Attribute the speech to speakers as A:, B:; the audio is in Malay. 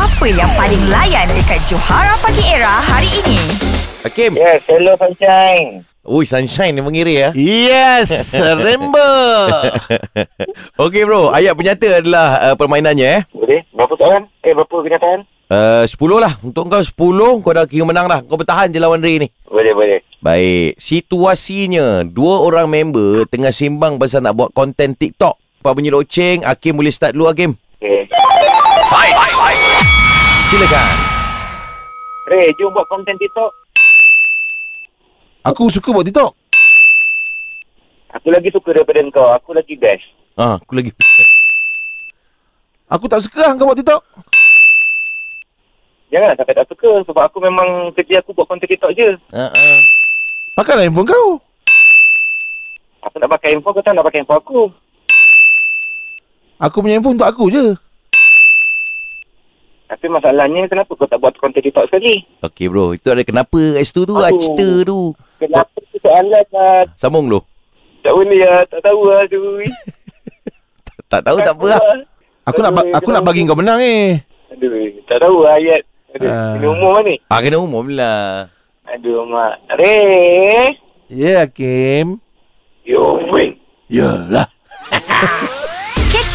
A: Apa yang paling layan dekat Johara Pagi Era hari ini?
B: Hakim.
C: Yes, hello Sunshine.
B: Ui, sunshine dia mengira ya.
D: Yes, remember.
B: Okey bro, ayat penyata adalah uh, permainannya eh.
C: Boleh? Berapa soalan? Eh, berapa kenyataan?
B: Uh, 10 lah. Untuk kau 10, kau dah kira menang dah. Kau bertahan je lawan Ray ni.
C: Boleh, boleh.
B: Baik, situasinya dua orang member tengah sembang pasal nak buat konten TikTok. Pak bunyi loceng, Hakim boleh start dulu Hakim.
C: Okay.
B: Silakan.
C: Ray, jom buat konten TikTok.
D: Aku suka buat TikTok.
C: Aku lagi suka daripada kau. Aku lagi best.
B: Ah, aku lagi.
D: Aku tak suka lah kau buat TikTok.
C: Janganlah sampai tak suka sebab aku memang kerja aku buat konten TikTok je.
B: Ah, ah.
D: Pakailah handphone kau.
C: Aku nak pakai info kau tak nak pakai info aku.
D: Aku punya handphone untuk aku je.
C: Tapi masalahnya kenapa kau tak buat konten TikTok sekali?
B: Okey bro, itu ada kenapa kat situ tu,
C: Aduh.
B: ah, cerita tu.
C: Kenapa tu soalan lah?
B: Sambung dulu.
C: Tak boleh lah. Tak tahu lah. Aduh.
B: Tak tahu tak apa lah.
D: Oh, Aku nak ba- aku nak bagi kau menang eh.
C: ah. Aduh. Tak tahu lah ayat. Aduh.
D: Ah.
C: Kena umur mana?
B: Ah, kena umum lah.
C: Aduh, Mak. Ray.
D: Ya, yeah, Hakim.
C: Yo, wait.
D: Yalah.
A: Catch